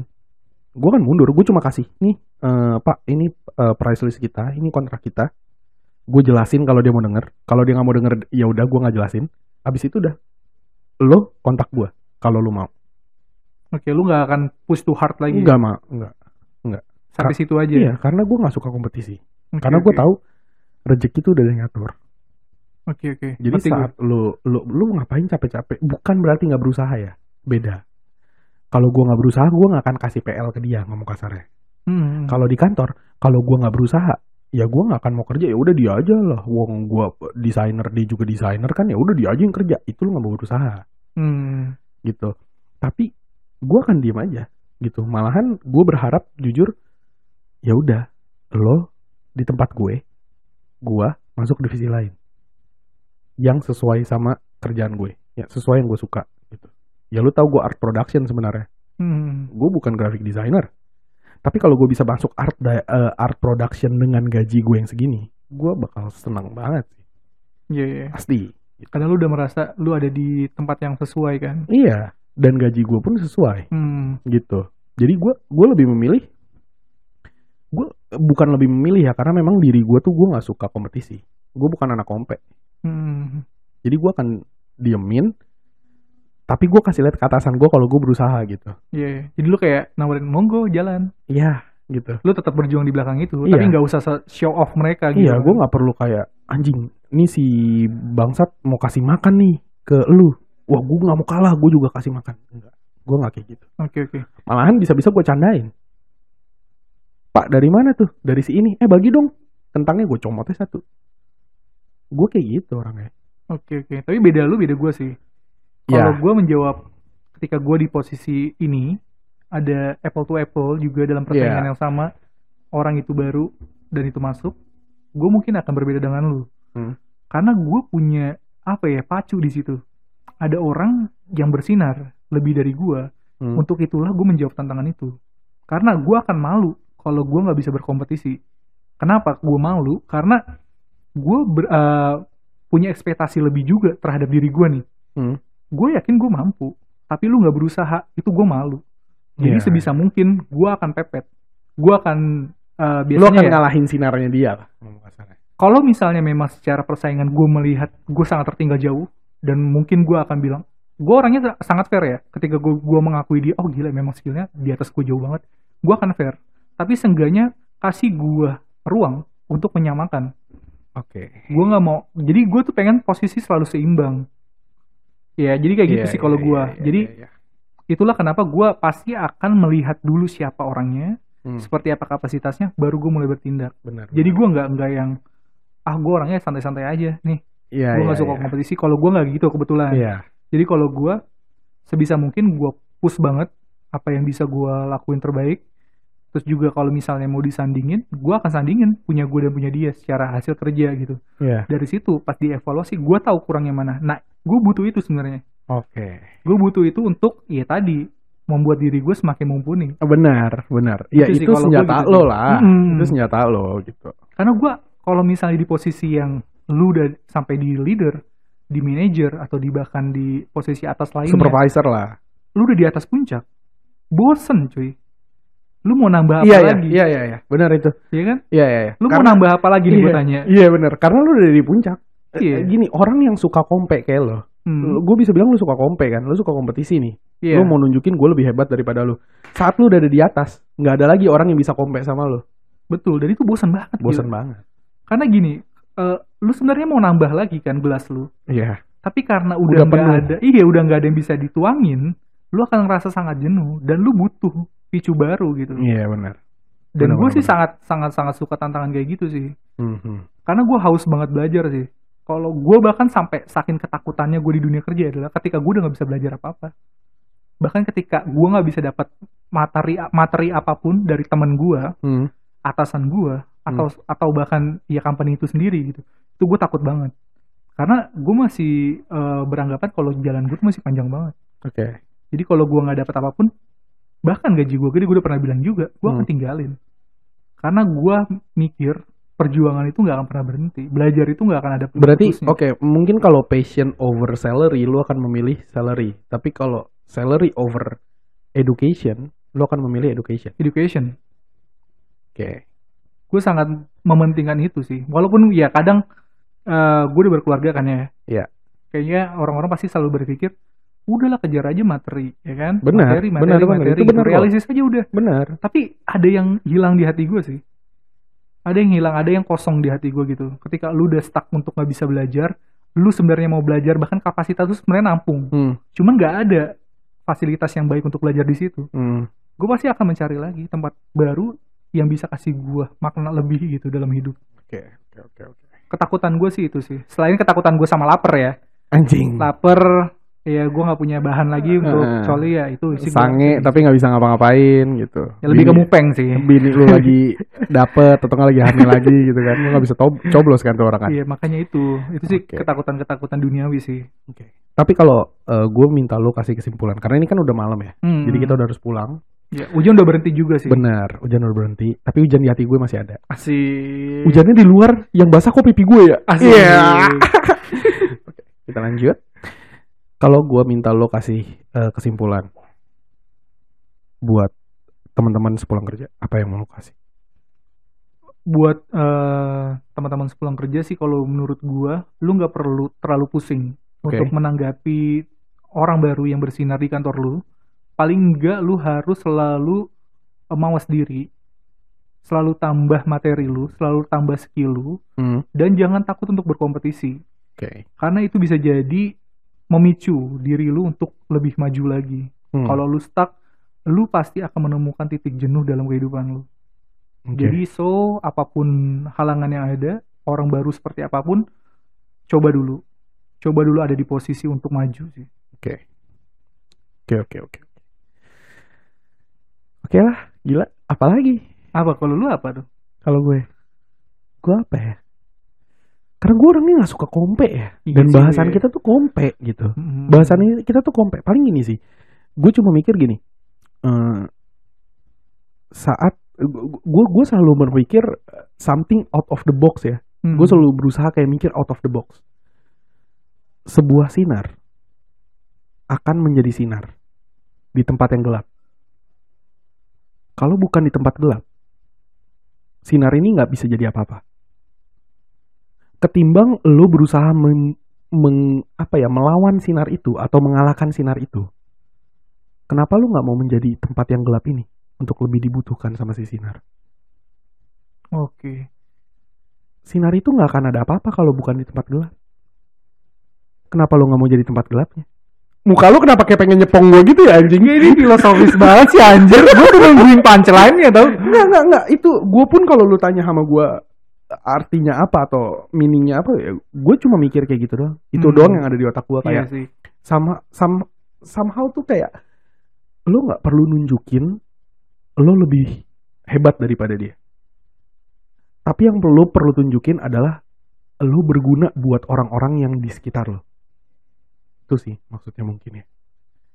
B: gue kan mundur gue cuma kasih nih eh, pak ini eh, price list kita ini kontrak kita gue jelasin kalau dia mau denger kalau dia nggak mau denger ya udah gue nggak jelasin abis itu udah lo kontak gue kalau lo mau
A: Oke, lu nggak akan push too hard lagi.
B: nggak mau nggak
A: Sampai situ aja.
B: iya karena gue nggak suka kompetisi
A: Oke,
B: karena gue
A: oke.
B: tahu rezeki itu udah yang ngatur
A: Oke, oke.
B: Jadi
A: Ngerti gua.
B: saat lu, lu lu ngapain capek-capek, bukan berarti nggak berusaha ya. Beda. Kalau gua nggak berusaha, gua nggak akan kasih PL ke dia ngomong kasarnya.
A: Hmm.
B: Kalau di kantor, kalau gua nggak berusaha, ya gua nggak akan mau kerja. Ya udah dia aja lah. Wong gua desainer, dia juga desainer kan. Ya udah dia aja yang kerja. Itu lu nggak mau berusaha
A: Hmm.
B: gitu. Tapi gua akan diem aja gitu. Malahan gua berharap jujur, ya udah lo di tempat gue, gua masuk divisi lain yang sesuai sama kerjaan gue, ya sesuai yang gue suka gitu. Ya lu tahu gue art production sebenarnya,
A: Hmm.
B: gue bukan graphic designer. Tapi kalau gue bisa masuk art da- eh, art production dengan gaji gue yang segini, gue bakal senang banget sih,
A: Iya, iya.
B: pasti.
A: Karena lu udah merasa lu ada di tempat yang sesuai kan.
B: Iya, dan gaji gue pun sesuai.
A: Hmm.
B: gitu. Jadi gue gue lebih memilih gue bukan lebih memilih ya karena memang diri gue tuh gue nggak suka kompetisi. Gue bukan anak kompe.
A: Hmm.
B: Jadi gue akan diemin. Tapi gue kasih lihat ke atasan gue kalau gue berusaha gitu.
A: Iya, iya. Jadi lu kayak nawarin monggo jalan.
B: Iya gitu.
A: Lu tetap berjuang di belakang itu,
B: Iya.
A: tapi nggak usah se- show off mereka gitu.
B: Iya gue nggak perlu kayak anjing. Ini si bangsat mau kasih makan nih ke lu. Wah gue nggak mau kalah gue juga kasih makan. Enggak. Gue nggak kayak gitu.
A: Oke, oke.
B: Malahan bisa-bisa gue candain. Pak dari mana tuh? Dari si ini. Eh bagi dong. Kentangnya gue comotnya satu. Gue kayak gitu orangnya.
A: Oke, oke. Tapi beda lu, beda gua sih. Kalau
B: Ya.
A: gua menjawab ketika gua di posisi ini ada apple to apple juga dalam persaingan
B: Iya.
A: yang sama, orang itu baru dan itu masuk, gua mungkin akan berbeda dengan lu.
B: Hmm.
A: Karena gua punya apa ya, pacu di situ. Ada orang yang bersinar lebih dari gua.
B: Hmm.
A: Untuk itulah gue menjawab tantangan itu. Karena gue akan malu kalau gue nggak bisa berkompetisi. Kenapa gue malu? Karena gue ber- eh, punya ekspektasi lebih juga terhadap diri gue nih.
B: Hmm.
A: Gue yakin gue mampu, tapi lu nggak berusaha, itu gue malu. Jadi
B: Iya.
A: sebisa mungkin gue akan pepet. Gue akan ya. eh,
B: Lo
A: biasanya
B: akan
A: ya,
B: ngalahin sinarnya dia lah. ngomong kasarnya.
A: kalau misalnya memang secara persaingan gue melihat gue sangat tertinggal jauh dan mungkin gue akan bilang gue orangnya sa- sangat fair ya ketika gue gua mengakui dia oh gila memang skillnya di atas gue jauh banget gue akan fair tapi seenggaknya kasih gue ruang untuk menyamakan
B: Oke.
A: gue nggak mau jadi gue tuh pengen posisi selalu seimbang ya jadi kayak gitu
B: Iya,
A: sih kalau
B: iya,
A: gue
B: iya, iya,
A: jadi
B: iya, iya.
A: itulah kenapa gue pasti akan melihat dulu siapa orangnya
B: Hmm,
A: seperti apa kapasitasnya baru gue mulai bertindak
B: benar.
A: jadi gue nggak nggak yang ah gue orangnya santai-santai aja nih
B: Iya,
A: gue
B: iya,
A: nggak suka
B: iya.
A: kompetisi kalau gue nggak gitu kebetulan
B: Iya.
A: jadi kalau gue sebisa mungkin gue push banget apa yang bisa gue lakuin terbaik terus juga kalau misalnya mau disandingin gue akan sandingin punya gue dan punya dia secara hasil kerja gitu
B: Iya.
A: dari situ pas dievaluasi gue tahu kurangnya mana nah gue butuh itu sebenarnya
B: Oke.
A: Gue butuh itu untuk ya tadi membuat diri gue semakin mumpuni.
B: Oh, Benar, benar. Ya
A: Itu sih
B: itu,
A: kalau
B: senjata
A: gua gitu
B: lo
A: sih.
B: lah.
A: Mm-mm.
B: Ah, Itu senjata lo gitu.
A: Karena gue kalau misalnya di posisi yang lu udah sampai di leader, di manager atau di bahkan di posisi atas lainnya,
B: Supervisor lah.
A: lu udah di atas puncak. Bosen cuy. Lu mau nambah apa
B: Iya, iya,
A: lagi?
B: iya, iya, iya. Benar itu.
A: Ya kan?
B: Iya, iya, iya.
A: Lu
B: Karena-
A: mau nambah apa lagi nih gue
B: Iya.
A: tanya?
B: Iya, benar. Karena lu udah di puncak. Eh,
A: Iya.
B: Gini, orang yang suka kompe kayak lo.
A: Hmm,
B: Gue bisa bilang lu suka kompe kan. Lu suka kompetisi nih.
A: iya.
B: Lu mau nunjukin gue lebih hebat daripada lu. Saat lu udah ada di atas, nggak ada lagi orang yang bisa kompe sama lu.
A: Betul, dan itu bosen banget.
B: Bosan
A: gila.
B: banget.
A: Karena gini, eh, lu sebenarnya mau nambah lagi kan gelas lu.
B: Iya.
A: tapi karena udah
B: Udah
A: nggak
B: penuh.
A: ada iya udah nggak ada yang bisa dituangin lu akan ngerasa sangat jenuh dan lu butuh picu baru gitu
B: Iya, benar.
A: dan
B: benar,
A: gue
B: benar,
A: sih
B: benar.
A: sangat sangat sangat suka tantangan kayak gitu sih
B: Mhm.
A: karena gue haus banget belajar sih kalau gue bahkan sampai saking ketakutannya gue di dunia kerja adalah ketika gue udah nggak bisa belajar apa apa bahkan ketika gue nggak bisa dapat materi materi apapun dari temen gue
B: Hmm.
A: atasan gue atau atau bahkan ya company itu sendiri gitu itu gue takut banget karena gue masih eh, beranggapan kalau jalan gue tuh masih panjang banget
B: Oke.
A: jadi kalau gue nggak dapat apapun bahkan gaji gue gede gue udah pernah bilang juga gue akan
B: Hmm.
A: tinggalin karena gue mikir perjuangan itu nggak akan pernah berhenti belajar itu nggak akan ada
B: Berarti
A: putusnya.
B: oke, mungkin kalau passion over salary lu akan memilih salary, tapi kalau salary over education lu akan memilih education.
A: education
B: Oke.
A: gue sangat mementingkan itu sih walaupun ya kadang eh, gue udah berkeluarga kan ya
B: Iya.
A: kayaknya orang-orang pasti selalu berpikir udahlah kejar aja materi ya kan
B: Benar,
A: materi materi
B: benar, benar.
A: materi
B: Itu
A: gitu.
B: benar kok.
A: realistis aja udah
B: Benar.
A: tapi ada yang hilang di hati gue sih ada yang hilang ada yang kosong di hati gue gitu ketika lu udah stuck untuk nggak bisa belajar lu sebenarnya mau belajar bahkan kapasitas lu sebenarnya nampung
B: Hmm.
A: cuman nggak ada fasilitas yang baik untuk belajar di situ
B: Hmm.
A: gue pasti akan mencari lagi tempat baru yang bisa kasih gue makna lebih gitu dalam hidup
B: Oke, oke, oke, oke.
A: ketakutan gue sih itu sih selain ketakutan gue sama lapar ya
B: Anjing.
A: lapar ya gue nggak punya bahan lagi untuk
B: Heeh.
A: coli ya itu sih gua-
B: Ah, Sange tapi nggak bisa ngapa-ngapain gitu.
A: ya, lebih ke
B: Bini-
A: mupeng sih
B: bini lu lagi dapet atau nggak lagi hamil lagi gitu kan lu nggak bisa tob- coblos kan tuh orang kan
A: iya makanya itu itu sih
B: Oke.
A: ketakutan ketakutan duniawi sih
B: tapi kalau gue minta lu kasih kesimpulan karena ini kan udah malam ya
A: Hmm.
B: jadi kita udah harus pulang
A: Ya, hujan udah berhenti juga sih
B: bener hujan udah berhenti tapi hujan di hati gue masih ada
A: Iya. asik
B: hujannya di luar yang basah kok pipi gue ya
A: asik Iya.
B: kita lanjut kalau gue minta lo kasih eh, kesimpulan buat teman-teman sepulang kerja apa yang mau lo kasih
A: buat eh, teman-teman sepulang kerja sih kalau menurut gua lu nggak perlu terlalu pusing
B: Oke.
A: untuk menanggapi orang baru yang bersinar di kantor lu paling nggak lu harus selalu eh, mawas diri selalu tambah materi lu selalu tambah skill lu dan jangan takut untuk berkompetisi
B: oke
A: karena itu bisa jadi memicu diri lu untuk lebih maju lagi
B: Hmm,
A: kalau lu stuck lu pasti akan menemukan titik jenuh dalam kehidupan lu
B: Hmm, oke.
A: jadi so apapun halangan yang ada, orang baru seperti apapun, coba dulu. Coba dulu ada di posisi untuk maju sih.
B: Oke. Oke, oke, oke. Oke lah, gila. Apalagi
A: Apa kalau lu apa tuh?
B: kalau gue? Gue apa ya? Karena gue orangnya gak suka kompe ya.
A: Iya
B: Dan
A: sih, Hmm.
B: bahasan
A: iya.
B: kita tuh kompe gitu.
A: Mm-mm.
B: Bahasannya kita tuh kompe. Paling gini sih. Gue cuma mikir gini. eh, saat gue gue selalu berpikir eh, something out of the box ya
A: Mm.
B: gue selalu berusaha kayak mikir out of the box. Sebuah sinar akan menjadi sinar di tempat yang gelap. Kalau bukan di tempat gelap, sinar ini nggak bisa jadi apa-apa. Ketimbang lo berusaha men- meng- apa ya melawan sinar itu atau mengalahkan sinar itu, kenapa lo nggak mau menjadi tempat yang gelap ini untuk lebih dibutuhkan sama si sinar?
A: Oke.
B: sinar itu nggak akan ada apa-apa kalau bukan di tempat gelap. Kenapa lo nggak mau jadi tempat gelapnya? Muka lo kenapa kayak pengen nyepong gue gitu ya anjing?
A: Ini filosofis banget sih anjir. Gue tuh nungguin punchline-nya tau.
B: Nggak, nggak, nggak. Itu gue pun kalau lo tanya sama gue artinya apa atau meaningnya apa ya gue cuma mikir kayak gitu doang itu
A: Hmm.
B: doang yang ada di otak gue
A: Iya
B: kayak
A: sih.
B: sama sama somehow tuh kayak lo nggak perlu nunjukin lo lebih hebat daripada dia tapi yang perlu perlu tunjukin adalah lo berguna buat orang-orang yang di sekitar lo itu sih maksudnya mungkin ya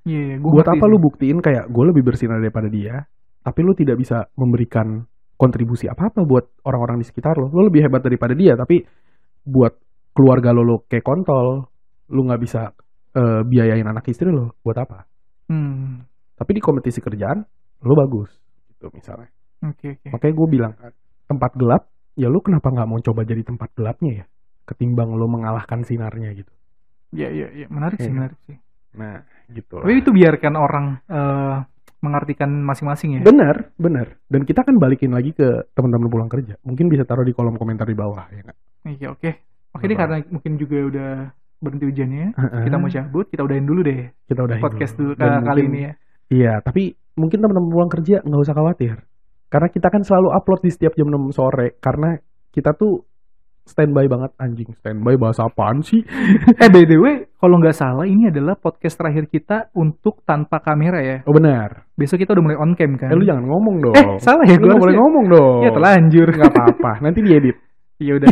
A: Iya, iya, gua
B: buat
A: ngerti
B: apa
A: sih.
B: lu buktiin kayak gue lebih bersinar daripada dia tapi lu tidak bisa memberikan kontribusi apa-apa buat orang-orang di sekitar lo lu lebih hebat daripada dia tapi buat keluarga lo lo kayak kontol lu nggak bisa eh, biayain anak istri lo buat apa
A: Hmm,
B: tapi di kompetisi kerjaan lu bagus gitu misalnya
A: oke oke.
B: makanya gue bilang tempat gelap ya lu kenapa nggak mau coba jadi tempat gelapnya ya ketimbang lo mengalahkan sinarnya gitu
A: Iya, iya, iya, menarik sih,
B: Iya.
A: menarik sih.
B: nah gitu lah.
A: Tapi itu biarkan orang eh, mengartikan masing-masing ya.
B: Benar, benar. Dan kita kan balikin lagi ke teman-teman pulang kerja. Mungkin bisa taruh di kolom komentar di bawah ya nggak?
A: Iya, oke. Oke, ini
B: Apa?
A: karena mungkin juga udah berhenti hujannya, kita mau cabut, kita udahin dulu deh
B: kita udah
A: podcast dulu eh, kali ini ya.
B: Iya, tapi mungkin teman-teman pulang kerja nggak usah khawatir. Karena kita kan selalu upload di setiap jam 6 sore karena kita tuh standby banget anjing. Standby bahasa apaan sih?
A: Eh, by the way, kalau nggak salah ini adalah podcast terakhir kita untuk tanpa kamera ya.
B: Oh benar.
A: Besok kita udah mulai on cam kan?
B: Eh lu jangan ngomong dong.
A: Eh, salah ya gue
B: Lu nggak boleh ngomong dong.
A: Ya terlanjur.
B: Nggak apa-apa, nanti diedit.
A: Ya udah.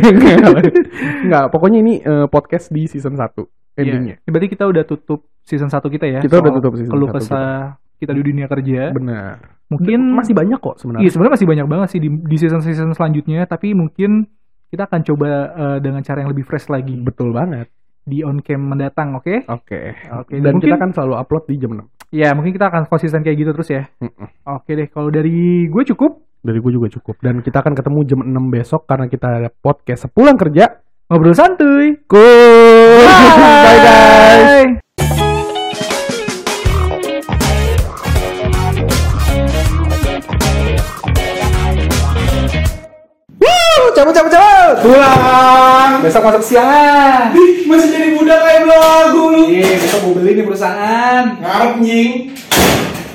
B: Enggak, pokoknya ini eh, podcast di season 1 endingnya.
A: Ya, Berarti kita udah tutup season 1 kita ya.
B: Kita udah
A: soal
B: tutup season
A: keluh
B: satu
A: kesah kita di dunia kerja.
B: Benar.
A: Iya. Mungkin
B: masih banyak kok sebenarnya.
A: Iya, sebenarnya masih banyak banget sih di, di season-season selanjutnya, tapi mungkin kita akan coba eh, dengan cara yang lebih fresh lagi
B: Betul banget.
A: di on cam mendatang, oke?
B: Oke.
A: Oke,
B: Dan
A: mungkin-
B: kita kan selalu upload di jam 6.
A: Ya, mungkin kita akan konsisten kayak gitu terus ya.
B: Mm-mm.
A: Oke deh, kalau dari gue cukup
B: Dari gue juga cukup. Dan kita akan ketemu jam 6 besok karena kita ada podcast sepulang kerja.
A: ngobrol santuy.
B: Good. Bye guys.
A: Bye.
B: Cabut cabut cabut. Pulang. Besok masuk siangan.
C: Masih jadi budak kayak belagu lu.
A: Iya, besok gue beli nih perusahaan.
C: Ngarep nying.